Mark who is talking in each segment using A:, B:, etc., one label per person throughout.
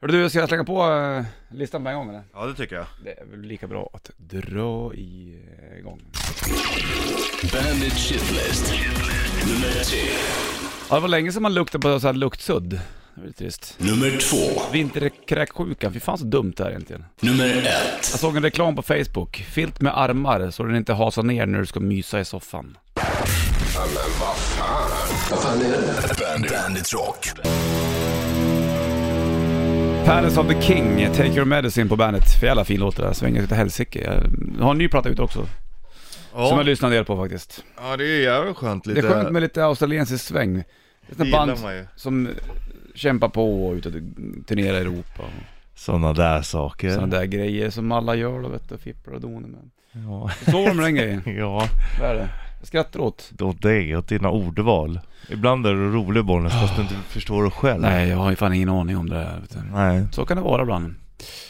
A: Hörru du, ska jag slänga på eh, listan på en gång eller?
B: Ja, det tycker jag.
A: Det är väl lika bra att dra i- eh, igång.
C: Bandit Shitlist. Nummer tre.
A: Ja, det var länge sedan man luktade på så här luktsudd. Det var lite trist.
C: Nummer två.
A: Vinterkräksjukan, fy fan så dumt det här egentligen.
C: Nummer ett.
A: Jag såg en reklam på Facebook. Filt med armar så den inte hasar ner när du ska mysa i soffan.
C: Bandit, Bandit Rock.
A: Palace of the King, Take Your Medicine på bandet. För jävla fin låt det där, svänger utav helsike. Jag har en ny platta ute också, som
B: Ja,
A: jag lyssnar en del på faktiskt.
B: ja det är jävligt skönt
A: Det
B: lite.
A: är skönt med lite australiensisk sväng. Det är
B: Det
A: ett
B: gillar
A: band
B: man ju.
A: som kämpar på och ut och turnerar i Europa och
B: Sådana där saker.
A: sådana där grejer som alla gör då vet du, fipplar och donar med.
B: Ja.
A: Så var det med den grejen,
B: ja,
A: vad är det? Jag skrattar åt.
B: åt dig, åt dina ordval. Ibland är du rolig Bollnäs fast du inte förstår det själv.
A: Ah. Nej, jag har ju fan ingen aning om det där vet du.
B: Nej.
A: Så kan det vara ibland.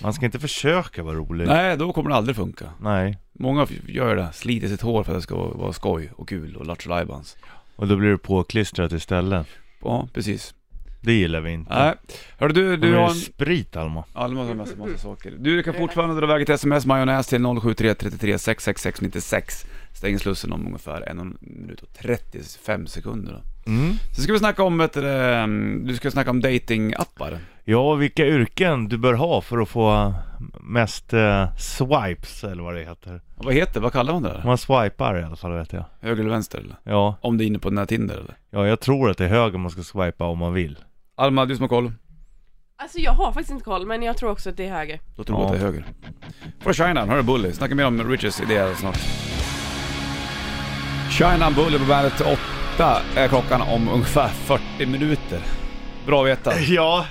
B: Man ska inte försöka vara rolig.
A: Nej, då kommer det aldrig funka.
B: Nej.
A: Många f- gör det, sliter sitt hår för att det ska vara vara skoj och kul och lattjo lajbans.
B: Och då blir du påklistrat istället.
A: Ja, precis.
B: Det gillar vi inte.
A: Nej, hörru du,
B: Du
A: du
B: har
A: har en...
B: sprit Alma.
A: Alma har en massa, massa saker. Du kan fortfarande dra iväg ett sms majonnäs till 0733366696. Stänger slussen om ungefär en minut och 35 sekunder då.
B: Mm.
A: Sen ska vi snacka om, vet du, det, du ska snacka om datingappar.
B: Ja, vilka yrken du bör ha för att få mest eh, swipes eller vad det heter.
A: Vad heter det? Vad kallar man det där?
B: Man swipar i alla fall vet jag.
A: Höger eller vänster eller?
B: Ja,
A: Om det är inne på den här Tinder eller?
B: ja jag tror att det är höger man ska swipa om man vill.
A: Alma, du som har koll.
D: Alltså jag har faktiskt inte koll men jag tror också att det är höger.
A: Då tror
B: Ja.
A: jag att det är höger. Från China, hör du Bully. Snacka mer om Riches idéer snart. China Bully på bandet 8 är klockan om ungefär 40 minuter. Bra vetat.
B: Ja,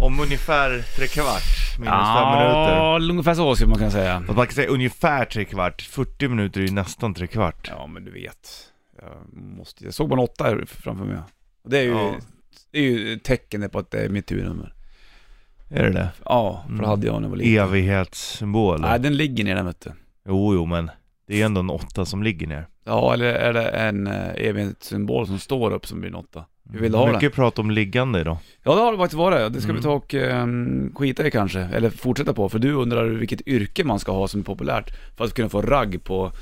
B: om ungefär tre kvart minus fem minuter.
A: Ja, ungefär så skulle man kunna säga.
B: Fast man kan säga ungefär tre kvart, 40 minuter är ju nästan tre kvart.
A: Ja, men du vet. Jag, måste, jag såg bara en åtta här framför mig. Och det är ju,
B: Ja.
A: det är ju tecknet på att det är mitt turnummer.
B: Är det det?
A: Ja, för det
B: Mm.
A: hade jag när jag var liten.
B: Evighetssymbol.
A: Nej, den ligger ner den vet du.
B: Jo, jo, men det är ändå en åtta som ligger ner.
A: Ja, eller är det en eh, evighetssymbol som står upp som blir en åtta? Hur vill du ha den?
B: Mm, Mycket prat om liggande idag.
A: Ja det har det faktiskt varit, det ska vi
B: Mm.
A: ta och ehm, skita i kanske, eller fortsätta på, för du undrar vilket yrke man ska ha som är populärt för att kunna få ragg på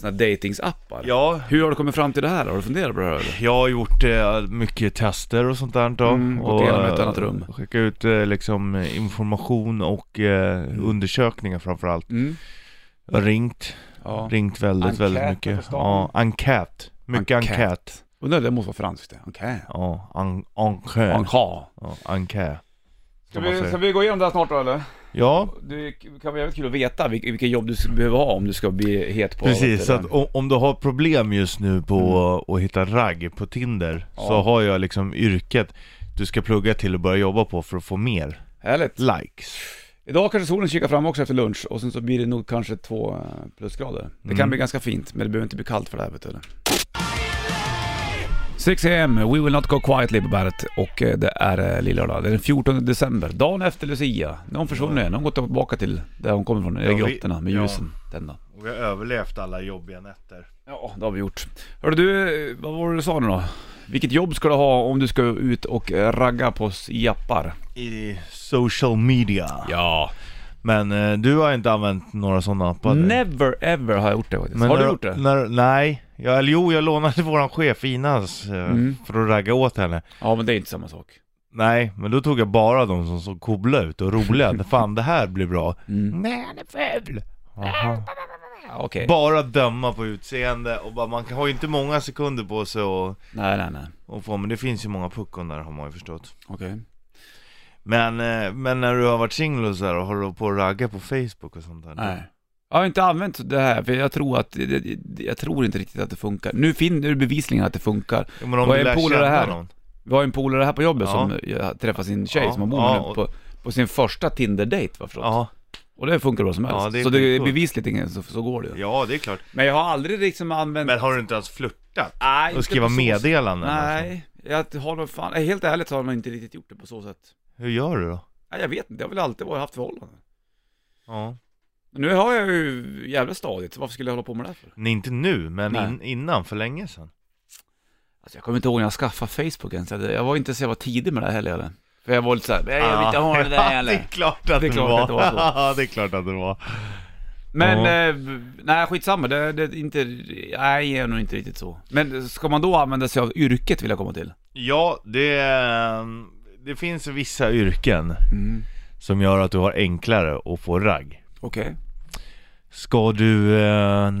A: såna här datingsappar.
B: Ja,
A: Hur har du kommit fram till det här Har du funderat på det här eller?
B: jag har gjort eh, mycket tester och sånt där då.
A: Mm, gått
B: och,
A: igenom ett
B: eh,
A: annat rum.
B: Skicka ut eh, liksom information och eh, undersökningar framförallt.
A: Mm.
B: Jag har ringt,
A: Ja.
B: ringt väldigt,
A: Enkäter
B: väldigt
A: på
B: mycket.
A: stan.
B: Ja, enkät. Mycket
A: Enkät.
B: enkät.
A: Undrar, det måste vara franskt det. Okej.
B: Ja, en, enkät.
A: Okay.
B: Ja, enkät.
A: Ska
B: Som man
A: vi,
B: säger.
A: ska vi gå igenom det här snart då eller?
B: Ja,
A: Det kan vara jävligt kul att veta vilk, vilka jobb du ska behöva ha om du ska bli het på
B: Precis, så
A: vet
B: att
A: du,
B: om, om du har problem just nu på att hitta ragg på Tinder
A: Mm. Ja.
B: så har jag liksom yrket du ska plugga till och börja jobba på för att få mer
A: Härligt.
B: likes.
A: Idag kanske solen kikar fram också efter lunch och sen så blir det nog kanske två eh, plusgrader. Det kan
B: Mm.
A: bli ganska fint, men det behöver inte bli kallt för det här vet du. eller? 6 am, We Will Not Go Quietly på bandet och eh, det är eh, lillördag. Det är den 14 december, dagen efter Lucia. Nu har hon försvunnit igen, hon har gått tillbaka till där hon kommer ifrån, i
B: Ja, vi-
A: grottorna med
B: ja.
A: ljusen. Den då.
B: Och vi har överlevt alla jobbiga nätter.
A: Ja, det har vi gjort. Hörru du, eh, vad var det du sa nu då? Vilket jobb ska du ha om du ska ut och eh, ragga på s- jappar?
B: I social media.
A: Ja.
B: Men eh, du har inte använt några sådana appar? du?
A: Never ever har jag gjort det faktiskt. har du
B: när,
A: gjort det?
B: När, nej, jag, eller jo jag lånade våran chef Inas eh,
A: Mm.
B: för att ragga åt henne.
A: Ja, men det är inte samma sak.
B: Nej, men då tog jag bara de som såg coola ut och roliga. Fan det här blir bra.
A: Mm.
B: Nej han är ful!
A: Okej.
B: Bara döma på utseende och bara, man kan- har ju inte många sekunder på sig och,
A: Nej, nej, nej.
B: och få, men det finns ju många puckon där har man ju förstått.
A: Okej.
B: Men, eh, men när du har varit singel och sådär och håller på och raggar på Facebook och sånt där.
A: Nej. Jag har inte använt det här, för jag tror att, det- det- jag tror inte riktigt att det funkar. Nu finner du bevisligen att det funkar.
B: Ja, men om
A: Vad
B: du
A: är
B: lär
A: polare
B: känna
A: här?
B: någon.
A: Vi har en polare här på jobbet
B: Ja.
A: som eh, träffar sin tjej
B: Ja,
A: som han bor
B: ja,
A: med nu
B: och-
A: på, på sin första Tinder-date va förstås.
B: Ja,
A: Och det funkar bra som helst.
B: Ja, det är
A: så det är
B: skitcoolt.
A: bevisligen så, så går det ju.
B: ja det är klart.
A: Men jag har aldrig liksom använt...
B: Men har du inte ens flörtat?
A: nej,
B: Och
A: inte
B: skriva
A: på så sätt.
B: meddelanden? Alltså.
A: Nej, jag har nog fan... nej, Helt ärligt så har man inte riktigt gjort det på så sätt.
B: Hur gör du då?
A: Nej, jag vet inte, jag har väl alltid varit haft förhållanden.
B: Ja.
A: Nu har jag ju jävla stadigt, varför skulle jag hålla på med det här för?
B: Nej, inte nu, men
A: Nej.
B: in, innan, för länge sedan.
A: Alltså jag kommer inte ihåg när jag skaffade Facebook ens. Jag jag var inte så jag var tidig med det här heller. eller? För jag var lite såhär, jag vill inte ha det där
B: Ah. Ja, det är
A: heller.
B: klart
A: Det
B: att det,
A: är klart
B: var.
A: att det var så.
B: Ja, det är klart att det var.
A: Men,
B: Ja.
A: eh, nej skitsamma, det, det är inte, nej jag är nog inte riktigt så. Men ska man då använda sig av yrket vill jag komma till?
B: Ja, det, ehm, det finns vissa yrken
A: Mm.
B: som gör att du har enklare att få ragg.
A: Okej.
B: Ska du... eh,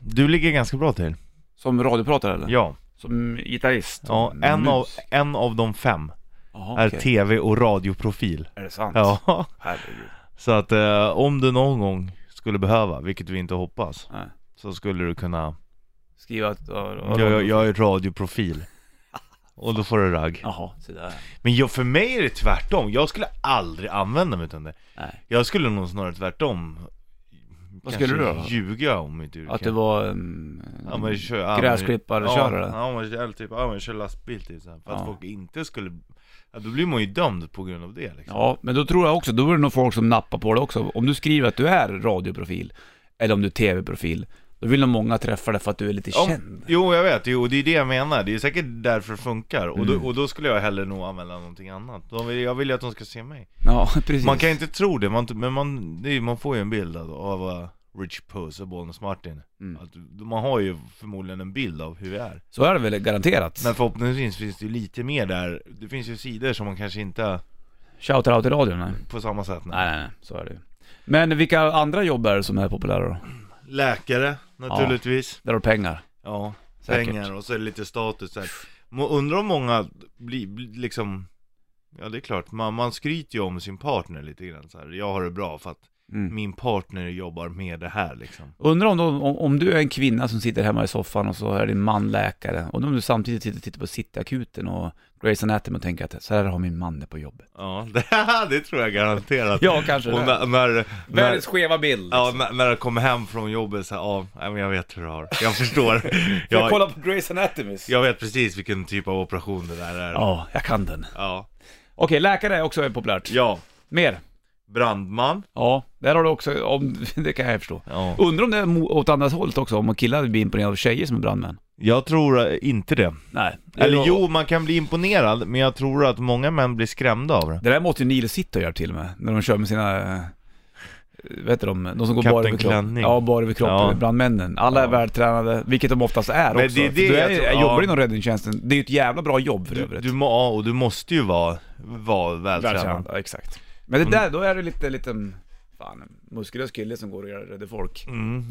B: Du ligger ganska bra till.
A: Som radiopratare eller?
B: Ja.
A: Som gitarrist?
B: ja en,
A: Mm. Mus.
B: av, en av de fem
A: Jaha,
B: är
A: okej.
B: tv och radioprofil.
A: Är det sant?
B: Ja.
A: Herregud.
B: Så att eh, om du någon gång skulle behöva, vilket vi inte hoppas,
A: Nej.
B: så skulle du kunna...
A: Skriva att... Ja,
B: Jag, jag, jag är radioprofil. Och då får du ragg.
A: Jaha, se där.
B: Men jag, för mig är det tvärtom. Jag skulle aldrig använda mig av det.
A: Nej.
B: Jag skulle nog snarare tvärtom.
A: Vad
B: Kanske
A: skulle du då?
B: Ljuga om mitt yrke.
A: Att det var... Um,
B: Ja, men kör, ja, men-
A: Gräsklippare,
B: ja,
A: kör det.
B: Ja men kör, typ, ja men kör lastbil typ så här, För att
A: Ja.
B: folk inte skulle, ja, då blir man ju dömd på grund av det liksom.
A: Ja, men då tror jag också, då är det nog folk som nappar på det också. Om du skriver att du är radioprofil, eller om du är tv-profil, då vill nog många träffa dig för att du är lite
B: Ja,
A: känd.
B: Jo jag vet, jo det är det jag menar, det är säkert därför det funkar och,
A: Mm.
B: då, och då skulle jag hellre nog använda någonting annat De vill, Jag vill ju att de ska se mig
A: Ja, precis.
B: Man kan inte tro det, man, men man, det är, man får ju en bild av, av eh, Rich Puss och Bonus Martin
A: Mm.
B: att, Man har ju förmodligen en bild av hur vi är
A: Så är det väl garanterat.
B: Men förhoppningsvis finns det ju lite mer där, det finns ju sidor som man kanske inte
A: Shout out i radion, nej.
B: på samma sätt nej.
A: Nej, nej, nej, så är det ju. Men vilka andra jobb är det som är populära då?
B: Läkare naturligtvis
A: Där har du pengar.
B: Ja,
A: Säkert.
B: pengar och så är det lite status så här. Må- Undrar om många blir, blir liksom Ja det är klart, man, man skryter ju om sin partner lite grann så här. Jag har det bra för att
A: Mm.
B: min partner jobbar med det här liksom
A: Undrar om, de, om, om du är en kvinna som sitter hemma i soffan och så är din man läkare. Och om du samtidigt sitter, tittar på Cityakuten och Grey's Anatomy och tänker att så här har min man det på jobbet.
B: Ja, det, det tror jag garanterat
A: Ja, kanske
B: Och
A: det.
B: när, när, när,
A: skeva bild.
B: ja, när, när jag kommer hem från jobbet så här, ja, nej, men jag vet hur du har Jag förstår jag,
A: på Grey's Anatomy. Ja.
B: jag vet precis vilken typ av operation det där är
A: ja, jag kan den.
B: Ja,
A: Okej, läkare är också populärt.
B: ja.
A: Mer?
B: brandman
A: Ja, där har du också, om, det kan jag förstå.
B: Ja.
A: Undrar om det är mo- åt andra hållet också, om killar blir imponerade av tjejer som är brandmän?
B: Jag tror eh, inte det
A: Nej.
B: Eller jo, man kan bli imponerad, men jag tror att många män blir skrämda av det.
A: Det där måste ju Neil Sitter göra till och med, när de kör med sina... eh, Vet du de, de som går
B: Kapten
A: bara över kroppen?
B: Klänning.
A: Ja, bara över kroppen,
B: Ja.
A: brandmännen. Alla är
B: Ja.
A: vältränade, vilket de oftast är
B: Men
A: också.
B: det är
A: För
B: det
A: du är,
B: jag tror-
A: jobbar
B: ja.
A: inom räddningstjänsten, det är ju ett jävla bra jobb för
B: Du,
A: övrigt.
B: du, må, ja, och du måste ju vara, vara Mm. vältränad.
A: Ja, exakt. Men det där, då är det lite, lite... Fan, en muskulös kille som går och räddar folk.
B: Mm.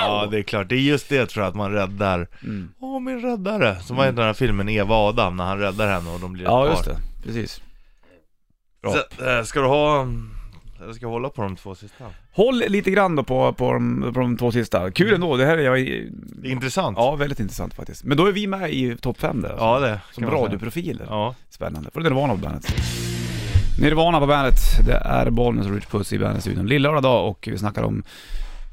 B: Ja, det är klart. Det är just det tror jag, att man räddar. Åh, min räddare! Som var i den här filmen Eva och Adam, när han räddar henne och de blir ett
A: Mm. Ja,
B: par.
A: just det. Precis. Bra. Mm.
B: Så, eh, ska du ha... Jag ska hålla på de två sista.
A: Håll lite grann då på, på, de, på de två sista. Kul ändå, det här är jag...
B: Det är intressant.
A: Ja, väldigt intressant faktiskt. Men då är vi med i topp 5 där. alltså.
B: ja det
A: Som
B: kan man säga.
A: radioprofiler.
B: Ja.
A: Spännande. Får du Nirvana på bandet. Nirvana på bandet. Det är Bollnäs och Rich Puss i bandet-studion. Lillördag dag och vi snackar om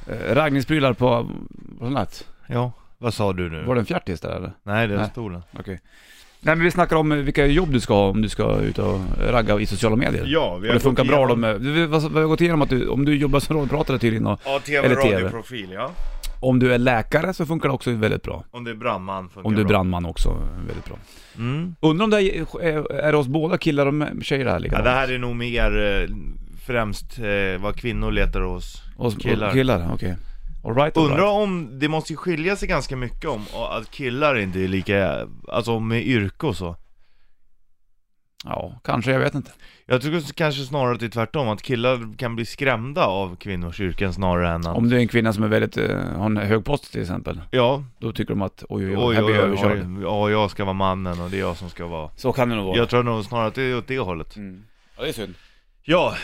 A: eh, raggningsprylar på... Vad som lät?
B: ja. Vad sa du nu?
A: Var det en fjärtis där eller?
B: Nej, det är
A: Nej.
B: stolen.
A: Okej. Nej men vi snackar om eh, vilka jobb du ska ha om du ska ut och ragga i sociala medier.
B: Ja, vi
A: och det funkar bra då med... Vi, vi, vad- vi har gått igenom att du, om du jobbar som radiopratare tydligen och
B: Ja,
A: Eller
B: tv,
A: TV.
B: radioprofil, ja.
A: om du är läkare så funkar det också väldigt bra.
B: Om det är brandman funkar
A: Om du är
B: bra.
A: brandman också, väldigt bra.
B: Mm.
A: Undrar om det är, är, är det oss båda killar och tjejer här
B: Ja,
A: likadant?
B: det här är nog mer eh, främst eh, vad kvinnor letar hos
A: Oss
B: killar.
A: killar. Killar, okej. Alright, all
B: Undrar
A: right.
B: om, det måste ju skilja sig ganska mycket om och att killar inte är lika, alltså med yrke och så.
A: Ja, kanske, jag vet inte.
B: Jag tycker s- kanske snarare att det är tvärtom, att killar kan bli skrämda av kvinnors yrken snarare än att...
A: Om du är en kvinna som är väldigt, eh, har en hög post till exempel,
B: Ja,
A: då tycker de att oj, oj,
B: oj,
A: oj, här blir jag
B: oj, oj,
A: överkörd.
B: ja jag ska vara mannen och det är jag som ska vara...
A: Så kan det nog vara.
B: Jag tror nog snarare att det är åt det hållet.
A: Mm. Ja, det är synd.
B: Ja,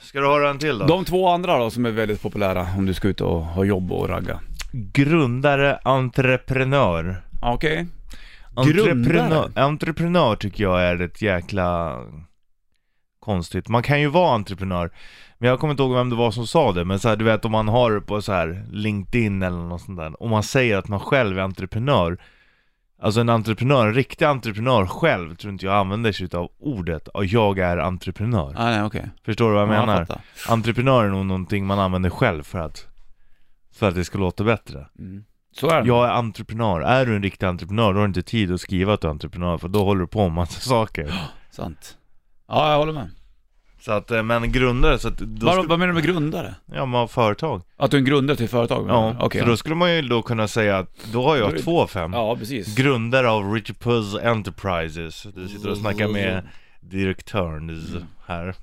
B: ska du höra en till då?
A: De två andra då som är väldigt populära om du ska ut och ha jobb och ragga.
B: Grundare, entreprenör.
A: Ja, Okej.
B: Entreprenör,
A: Grundare?
B: entreprenör tycker jag är ett jäkla konstigt. Man kan ju vara entreprenör, men jag kommer inte ihåg vem det var som sa det, men så här, du vet om man har på så här LinkedIn eller något sånt där, om man säger att man själv är entreprenör, alltså en entreprenör, en riktig entreprenör själv tror inte jag använder sig av ordet, "Ja, jag är entreprenör.
A: Ah, nej, okej.
B: Förstår du vad jag
A: Ja,
B: menar?
A: fattar.
B: entreprenör är nog någonting man använder själv för att, för att det ska låta bättre.
A: Mm. Så är det.
B: Jag är entreprenör. Är du en riktig entreprenör, då har du inte tid att skriva att du är entreprenör, för då håller du på med massa saker.
A: Sant. Ja, jag håller med.
B: Så att, eh, men grundare, så att då
A: Vad,
B: skulle,
A: vad menar du med grundare?
B: ja man har företag.
A: Att du är en grundare till företag? menar
B: Ja,
A: du? Mm, Okej.
B: så då skulle man ju då kunna säga att då har
A: Då
B: jag
A: är-
B: två fem.
A: Ja, precis.
B: Grundare av Richard Puss Enterprises. Du sitter och snackar
A: Mm.
B: med direktören här.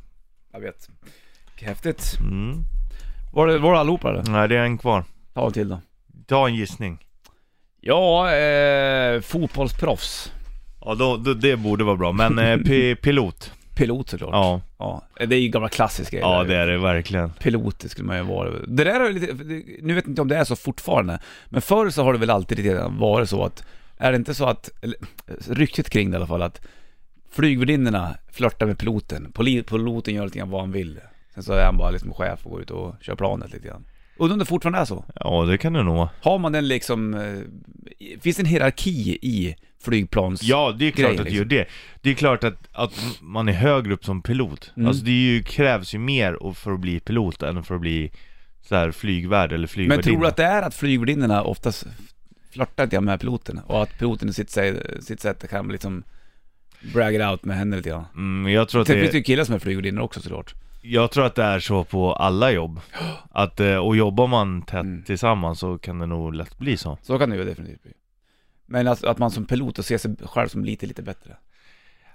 A: Jag vet. Häftigt.
B: Mm.
A: Var det, var det allihopa eller?
B: Nej, det är en kvar.
A: Ta en till då.
B: Ta en gissning.
A: Ja, eh, fotbollsproffs.
B: Ja, då, då, det borde vara bra. Men eh, pi- pilot.
A: Pilot såklart.
B: Ja,
A: ja. Det är ju gamla klassiska
B: ja
A: grejer.
B: det är det verkligen.
A: Pilot det skulle man ju vara. Det där är lite, det- nu vet jag inte om det är så fortfarande, men förr så har det väl alltid lite grann varit så att, är det inte så att, eller, ryktet kring det i alla fall, att flygvärdinnorna flörtar med piloten, Poli- piloten gör lite grann vad han vill. Sen så är han bara liksom chef och går ut och kör planet lite grann. Undrar om det fortfarande är så?
B: Ja, det kan det nog vara.
A: Har man den liksom, eh, finns det en hierarki i flygplans...
B: Ja, det är klart
A: Grejer,
B: att det gör det. Det är klart att, att man är högre upp som pilot.
A: Mm.
B: Alltså det är ju, krävs ju mer och- för att bli pilot än för att bli så här flygvärd eller
A: Men
B: flygvärdinna.
A: tror du att det är att flygvärdinnorna oftast flörtar lite grann med piloten och att piloten i sitt, sä- sitt sätt kan liksom brag it out med henne lite grann? Typ,
B: Mm, jag, tror att
A: Det finns
B: det,
A: ju killar som är flygvärdinnor också såklart.
B: jag tror att det är så på alla jobb. Att, eh, och jobbar man tätt
A: Mm.
B: tillsammans så kan det nog lätt bli så.
A: Så kan det ju definitivt bli. Men att, att man som pilot och ser sig själv som lite, lite bättre.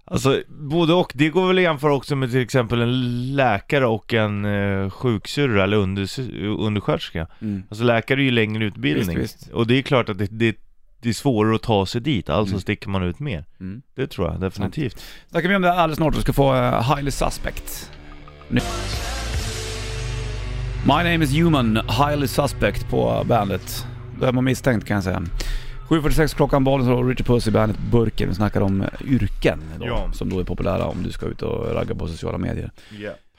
B: Alltså både och, det går väl att jämföra också med till exempel en läkare och en eh, sjuksyrra eller unders- undersköterska.
A: Mm.
B: Alltså läkare är ju längre utbildning.
A: Visst, visst.
B: Och det är klart att det, det, det är svårare att ta sig dit, alltså
A: Mm.
B: sticker man ut mer.
A: Mm.
B: Det tror jag definitivt.
A: Snackar vi om det alldeles snart, du ska få eh, Highly Suspect. Nu. My name is human, Highly Suspect på bandet. Då är man misstänkt kan jag säga. 7.46 klockan, bollen så Richard Puss i bandet Burken. Vi snackar om eh, yrken då,
B: Ja.
A: som då är populära om du ska ut och ragga på sociala medier.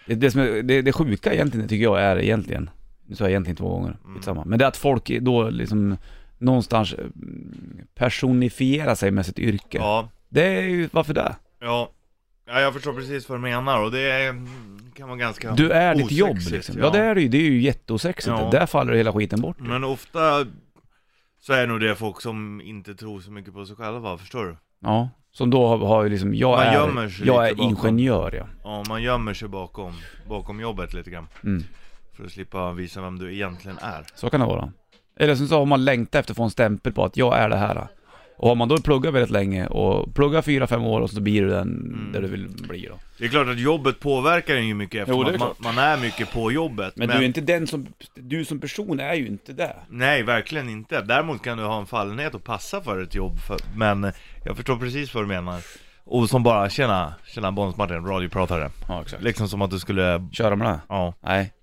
A: Det, det, som är, det, det sjuka egentligen tycker jag är egentligen, nu sa jag egentligen två gånger,
B: Mm.
A: samma. men det är att folk då liksom någonstans eh, personifierar sig med sitt yrke.
B: Ja,
A: Det är ju, varför det?
B: ja. Ja, jag förstår precis vad du menar och det är, mm, kan vara ganska
A: Du är ditt jobb
B: osexigt,
A: liksom. Ja, det är det ju. Det är ju jätteosexigt.
B: Ja. Mm.
A: Där faller hela skiten bort.
B: Men ofta så är nog det folk som inte tror så mycket på sig själva, förstår du?
A: Ja. Som då har, har ju liksom, jag
B: Man gömmer
A: är,
B: sig
A: jag
B: lite
A: är
B: bakom.
A: ingenjör ja.
B: Ja, man gömmer sig bakom, bakom jobbet lite grann.
A: Mm.
B: För att slippa visa vem du egentligen är.
A: Så kan det vara. Eller sen så har man längtat efter att få en stämpel på att jag är det här. Och har man då pluggat väldigt länge och pluggat fyra fem år och så blir du den
B: Mm.
A: där du vill bli då.
B: Det är klart att jobbet påverkar en ju mycket eftersom
A: Jo, det är
B: att man, man är mycket på jobbet.
A: Men, du är inte den som, du som person är ju inte det.
B: Nej, verkligen inte. Däremot kan du ha en fallenhet och passa för ett jobb. För, men jag förstår precis vad du menar. Och som bara, tjena, tjena Bonus Martin, radiopratare.
A: Ja exakt.
B: Liksom som att du skulle,
A: Köra med det?
B: ja,
A: Nej.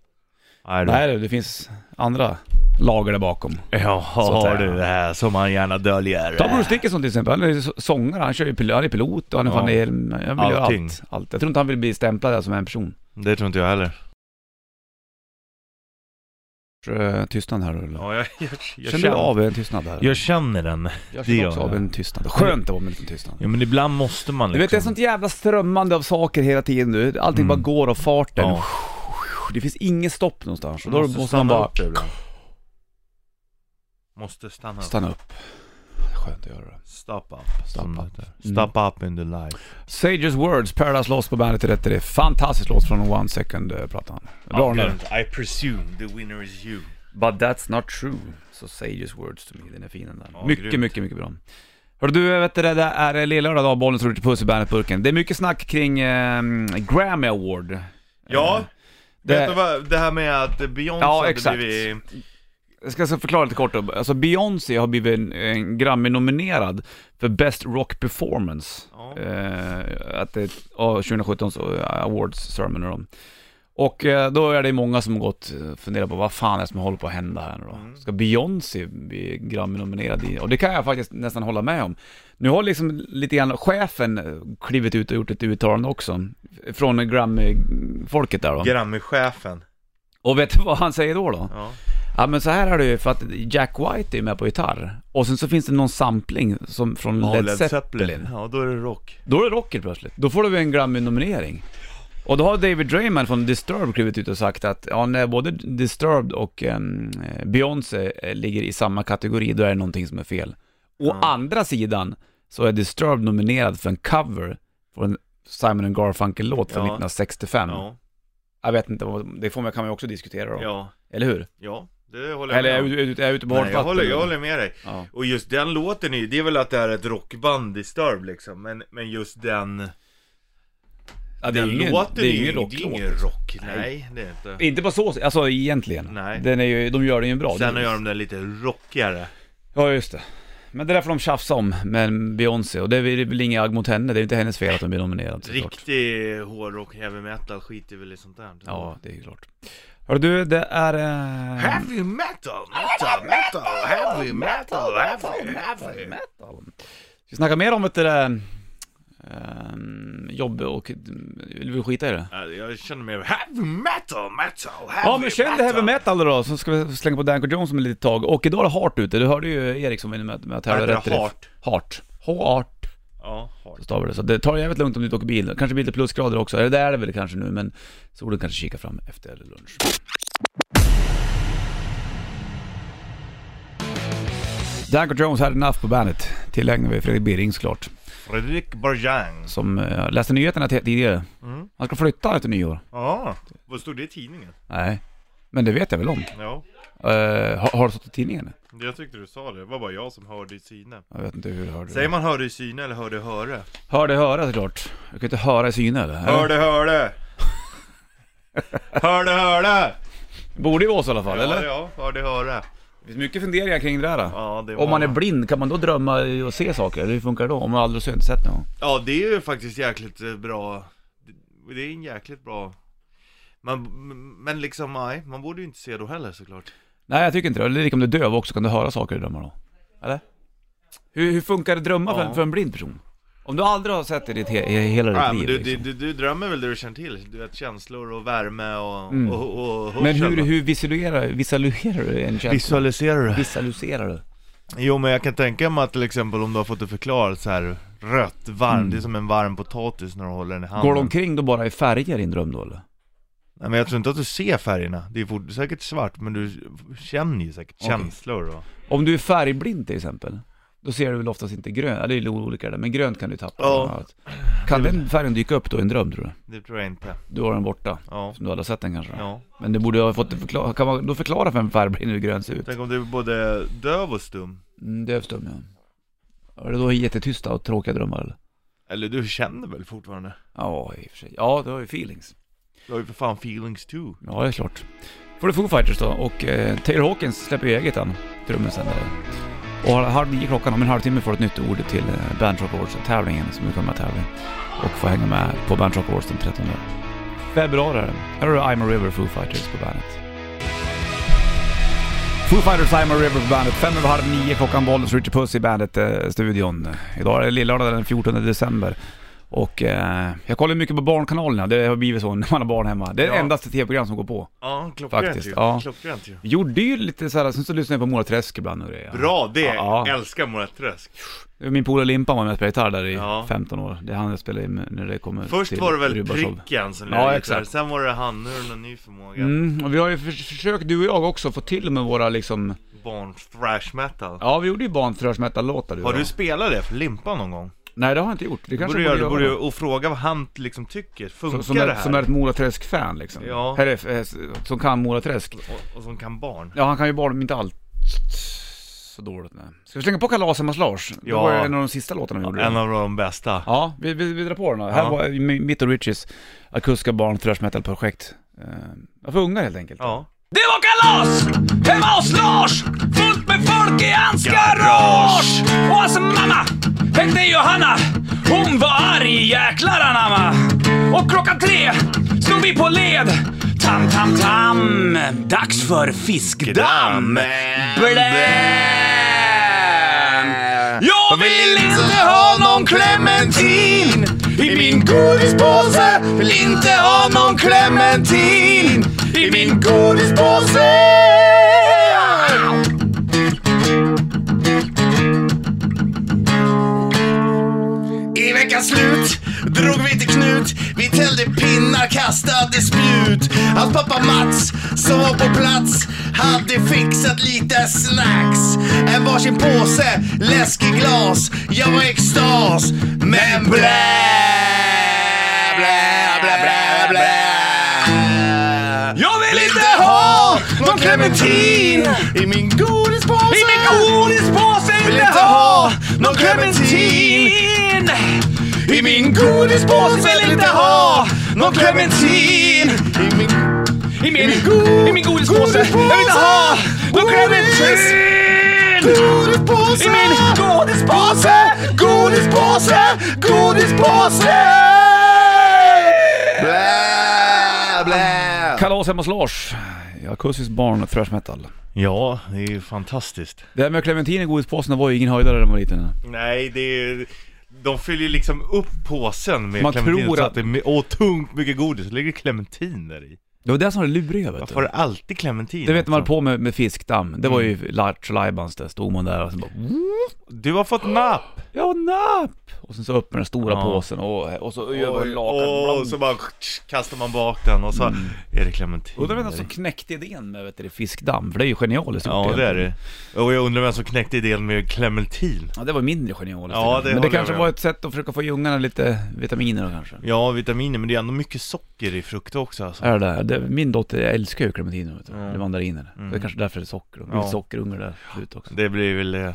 B: nej du.
A: Nej det finns andra lager där bakom.
B: Ja,
A: att
B: har
A: säga.
B: du det här som man gärna döljer.
A: Ta Bruce Dickinson till exempel, han är ju så- sångare, han kör ju pil- han är pilot och han är
B: Ja.
A: fan är, han vill göra
B: Allting.
A: allt, allt. Jag tror inte han vill bli stämplad där som en person.
B: Det tror inte jag heller.
A: Eh, Tystnad här eller?
B: Ja, jag, jag, jag,
A: känner
B: känner,
A: du av en tystnad där?
B: jag känner den.
A: Jag
B: det
A: känner
B: gör
A: också
B: jag.
A: av en tystnad. Skönt att vara med en liten tystnad.
B: Ja, men ibland måste man
A: Du
B: liksom.
A: vet det är sånt jävla strömmande av saker hela tiden nu. Allting
B: Mm.
A: bara går av farten.
B: Ja.
A: Det finns inget stopp någonstans. Och då måste, man
B: stanna
A: bara
B: upp ibland. Måste stanna upp.
A: stanna upp. Det är Skönt att göra det.
B: Stop up.
A: Stop
B: som det
A: up.
B: heter.
A: Mm.
B: Stop up in the life.
A: Sages Words, Paradise Lost på bandet i rätt i det. Fantastisk låt från One Second eh, plattan. Bra den där.
B: I presume the winner is you.
A: But that's not true. Så Sages Words to me, den är fin den där.
B: Ja,
A: mycket,
B: grymt.
A: mycket, mycket bra. Hörru du, vet du, det där är lillördag dag, bollen slår till puss i Bandet-burken. Det är mycket snack kring eh, Grammy Award. Eh,
B: Ja,
A: Det-
B: vet du vad, det här med att Beyoncé
A: Ja,
B: har
A: exakt.
B: blivit...
A: Jag ska alltså förklara lite kort då. Alltså Beyoncé har blivit en, en Grammy-nominerad för Best Rock Performance.
B: Ja.
A: Eh, att det, ja, 2017 så, eh, Awards Ceremony då. Och eh, då är det många som gått eh, funderar på vad fan är det som håller på att hända här nu då? Ska Beyoncé bli Grammy-nominerad i? Och det kan jag faktiskt nästan hålla med om. Nu har liksom lite grann chefen eh, klivit ut och gjort ett uttalande också. Från Grammy-folket där då.
B: Grammy-chefen.
A: Och vet du vad han säger då då?
B: Ja.
A: Ja men så här är det ju för att Jack White är ju med på gitarr och sen så finns det någon sampling som, från
B: Ja,
A: Led, Zeppelin.
B: Ja, då är det rock.
A: Då är det rocker plötsligt. Då får du en Grammy-nominering. Och då har David Drayman från Disturbed klivit ut och sagt att ja, när både Disturbed och em, eh, Beyoncé eh, ligger i samma kategori, då är det någonting som är fel. Å andra sidan så är Disturbed nominerad för en cover på en Simon and Garfunkel-låt från
B: Ja.
A: 1965.
B: Ja, jag
A: Jag vet inte, vad- det får man, kan man ju också diskutera då.
B: ja,
A: Eller hur?
B: ja, det håller jag
A: Eller
B: med
A: är
B: om.
A: jag, är jag ute på
B: Nej,
A: hårt
B: jag,
A: vatten?
B: håller, jag
A: eller?
B: håller med dig.
A: Ja.
B: Och just den låten är ju, det är väl att det är ett rockband Disturbed liksom, men, men just den,
A: Ja, det är
B: den
A: ju ingen,
B: låten
A: det är ju
B: ju-
A: ingen
B: det är ingen
A: rocklåt.
B: rock. Nej, det är inte.
A: Inte på så sätt, alltså egentligen.
B: Nej.
A: Den är ju, de gör den ju bra.
B: Sen
A: Det-
B: gör de den lite rockigare.
A: Ja, just det. Men det där får de tjafsa om med Beyoncé och det är väl inget agg mot henne, det är inte hennes fel att hon blir nominerad såklart.
B: Riktig hårdrock, heavy metal skiter väl i sånt där.
A: Ja, det är klart. Hörru du, det är... eh,
B: Heavy metal, metal, metal, heavy metal, heavy, heavy.
A: metal. Ska vi snacka mer om ett där ehm, jobb och... Vill vi skita i det?
B: Ja, Jag känner mig heavy metal, metal, heavy
A: Ja men känn det här med metal då, så ska vi slänga på Danko Jones om ett litet tag. Och idag är det Hart ute, du hörde ju Erik som var inne med, med att tävla
B: Vad heter
A: rätt
B: det?
A: i det.
B: Heart?
A: Hart. Hart.
B: Ja, hard.
A: Så stavar det. Så det tar jävligt lugnt om du inte åker bil. Kanske blir lite plusgrader också, eller det är det väl kanske nu men solen kanske kikar fram efter lunch. Danko Jones had enough på bandet, tillägnar vi Fredrik Birring såklart.
B: Fredrik Barjang.
A: som eh, läste nyheterna t- tidigare.
B: Mm.
A: Han ska flytta efter nyår.
B: Ja, vad stod det i tidningen?
A: Nej, men det vet jag väl om.
B: Ja,
A: Eh, har, har det stått i tidningen?
B: jag tyckte du sa det. Det var bara jag som hörde i syne.
A: Jag vet inte hur jag hörde
B: Mm. Säger
A: det.
B: man hörde i syne eller hörde i höre?
A: Hörde höra såklart. Jag kan inte höra i syne eller?
B: Hörde hörde! hörde hörde!
A: Borde ju vara så i alla fall, eller?
B: Ja, ja, hörde hörde.
A: Det finns mycket funderingar kring det där.
B: Ja, det var...
A: Om man är blind, kan man då drömma och se saker? Eller hur funkar det då? Om man aldrig har sett någon?
B: Ja, det är ju faktiskt jäkligt eh, bra. Det- Det är en jäkligt bra... Man, men liksom, nej, man borde ju inte se då heller såklart.
A: Nej, jag tycker inte det. Eller lika om du är döv också, kan du höra saker i drömmar då? Eller? Hur, hur funkar det drömmar för,
B: Ja.
A: en, för en blind person? Om du aldrig har sett det i ditt he- i hela ditt
B: Ja, men
A: liv
B: du, du,
A: liksom.
B: du, du drömmer väl det du känner till? Du vet, känslor och värme och,
A: Mm.
B: och, och, och
A: Men
B: hörsel.
A: hur, hur visualiserar, visualiserar du en känsla?
B: Visualiserar du?
A: Visualiserar du?
B: Jo men jag kan tänka mig att till exempel om du har fått det förklarat så här rött, varm, det är som en varm potatis när du håller den i handen
A: Mm. Går du omkring då bara i färger i din dröm då eller?
B: Nej men jag tror inte att du ser färgerna, det är fort, säkert svart men du känner ju säkert
A: Okej.
B: känslor och...
A: Om du är färgblind till exempel, då ser du väl oftast inte grönt, ja, det är lite olika där, men grönt kan du tappa.
B: Ja.
A: bland annat. Kan den färgen dyka upp då i en dröm tror du?
B: Det tror jag inte,
A: Du har den borta,
B: ja,
A: som du aldrig har sett den kanske.
B: ja
A: Men du borde ha fått det förklara, kan man då förklara för en färgblind hur grönt ser ut?
B: Tänk om du är både döv och stum
A: Mm, Dövstum ja. Är det då jättetysta och tråkiga drömmar eller?
B: Eller du känner väl fortfarande?
A: Ja, i och för sig. Ja, du har ju feelings.
B: Du har ju för fan feelings too
A: Ja, det är klart. Får du Foo Fighters då och eh, Taylor Hawkins släpper ju eget han, trummisen där. Och halv nio klockan, om en halvtimme får du ett nytt ord till eh, Band Rock Awards-tävlingen som vi kommer att tävla i. Och få hänga med på Band Rock Awards den 13 februari. är det. Här har du I'm a River Foo Fighters på bandet. Foo Fighters, I'm a River på bandet. Fem över halv nio klockan, Bollnäs, Richard Puss i bandet-studion. Idag är det lillördag den 14 december. Och eh, jag kollar mycket på Barnkanalerna, det har blivit så när man har barn hemma. Det är det
B: Ja.
A: enda tv-program som går på.
B: Ja, klockrent
A: Faktiskt,
B: ju,
A: ja.
B: klockrent ju
A: Gjorde ju lite såhär, sen så lyssnade jag på Mora Träsk ibland och grejer.
B: Bra det,
A: Ja.
B: älskar Mora Träsk
A: Min polare Limpan var med och spelade gitarr där i
B: Ja.
A: 15 år. Det är han jag spelade in när det kommer
B: Först
A: till
B: var det väl
A: Rubashov.
B: pricken som
A: Ja,
B: lärde ut
A: exakt.
B: där. sen var det hannurren och ny förmåga
A: Mm, och vi har ju för- försökt, du och jag också, få till med våra liksom...
B: barns thrash metal.
A: Ja, vi gjorde ju barnthrash-metal-låtar du
B: Har
A: och
B: du
A: jag.
B: spelat det för Limpa någon gång?
A: Nej, det har jag inte gjort. Det
B: Borde
A: kanske
B: du
A: jag
B: göra det, borde du, och fråga vad han liksom tycker, funkar
A: Som, som,
B: det
A: är,
B: här?
A: som är ett Mora Träsk-fan liksom.
B: Ja.
A: Eller, eh, som kan Mora Träsk.
B: och, och som kan barn.
A: Ja, han kan ju barn, men inte allt så dåligt nej. Ska vi slänga på Kalas Lars? Det
B: Ja.
A: var ju en av de sista låtarna vi gjorde.
B: En av de bästa.
A: Ja, vi, vi, vi drar på den här. Här
B: Ja.
A: var mi- mitt och Richies akustiska barn thrash metal-projekt. Uh, för ungar helt enkelt.
B: Ja.
A: Det var kalas hemma hos Lars! Fullt med folk i hans garage! Och hans mamma hette Johanna. Hon var arg, jäklar anamma. Och klockan tre stod vi på led. Tam, tam, tam. Dags för fiskdamm. Blä! Jag vill inte ha någon clementin i min godispåse. Vill inte ha någon clementin i min godispåse.
E: I veckans slut drog vi till Knut. Vi täljde pinnar, kastade spjut. Hans pappa Mats, som var på plats, hade fixat lite snacks. En varsin påse, läsk i glas. Jag var i extas, men blä! blä.
A: Jag vill
E: inte ha någon clementin
B: I min godispåse!
E: I min
A: godispåse
E: Vill inte ha någon clementin I min godispåse vill inte ha någon clementin I min
A: I min, I min godispåse! Jag vill inte ha någon clementin!
E: Godispåse!
A: I min godispåse!
E: Godispåse! Godispåse! Blä, blä!
A: Kalas hemma hos Lars. Jag Akustiskt barn, thrash metal.
B: Ja, det är ju fantastiskt.
A: Det här med clementin i godispåsen var ju ingen höjdare när man var liten.
B: Nej, det är De fyller ju liksom upp påsen med
A: Man
B: clementin
A: tror
B: så
A: att-
B: att det är my- och tungt mycket godis, så ligger clementin där i.
A: Det var det som var det luriga vet
B: Varför har
A: du.
B: det alltid clementin?
A: Det vet man
B: också?
A: på med, med fiskdamm. Det var
B: Mm.
A: ju Lattjo Lajbans, där stod man där och sen bara
B: Du har fått napp!
A: Ja, napp! Och sen så upp med den stora
B: Ja.
A: påsen och, och så gör man
B: och,
A: lakan.
B: så bara kastar man bak den och så
A: Mm.
B: är det clementin
A: Undrar vem
B: där i.
A: som knäckte idén med vet du, det, fiskdamm, för det är ju genialiskt gjort
B: Ja det är
A: egentligen.
B: det. Och jag undrar vem som knäckte idén med clementin.
A: Ja, det var mindre genialiskt.
B: Ja,
A: Ja,
B: det
A: Men
B: håller
A: det
B: jag
A: kanske
B: med
A: var
B: om.
A: ett sätt att försöka få i ungarna lite vitaminer då kanske.
B: Ja, vitaminer, men det är ändå mycket socker i frukt också alltså.
A: Är det där? det Min dotter älskar ju clementiner, vet du. Eller mandariner. Det är kanske därför det är socker.
B: Mm. Ja.
A: Ja. Sockerungar där ute också.
B: Det blir väl... eh,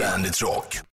C: Bandit Rock.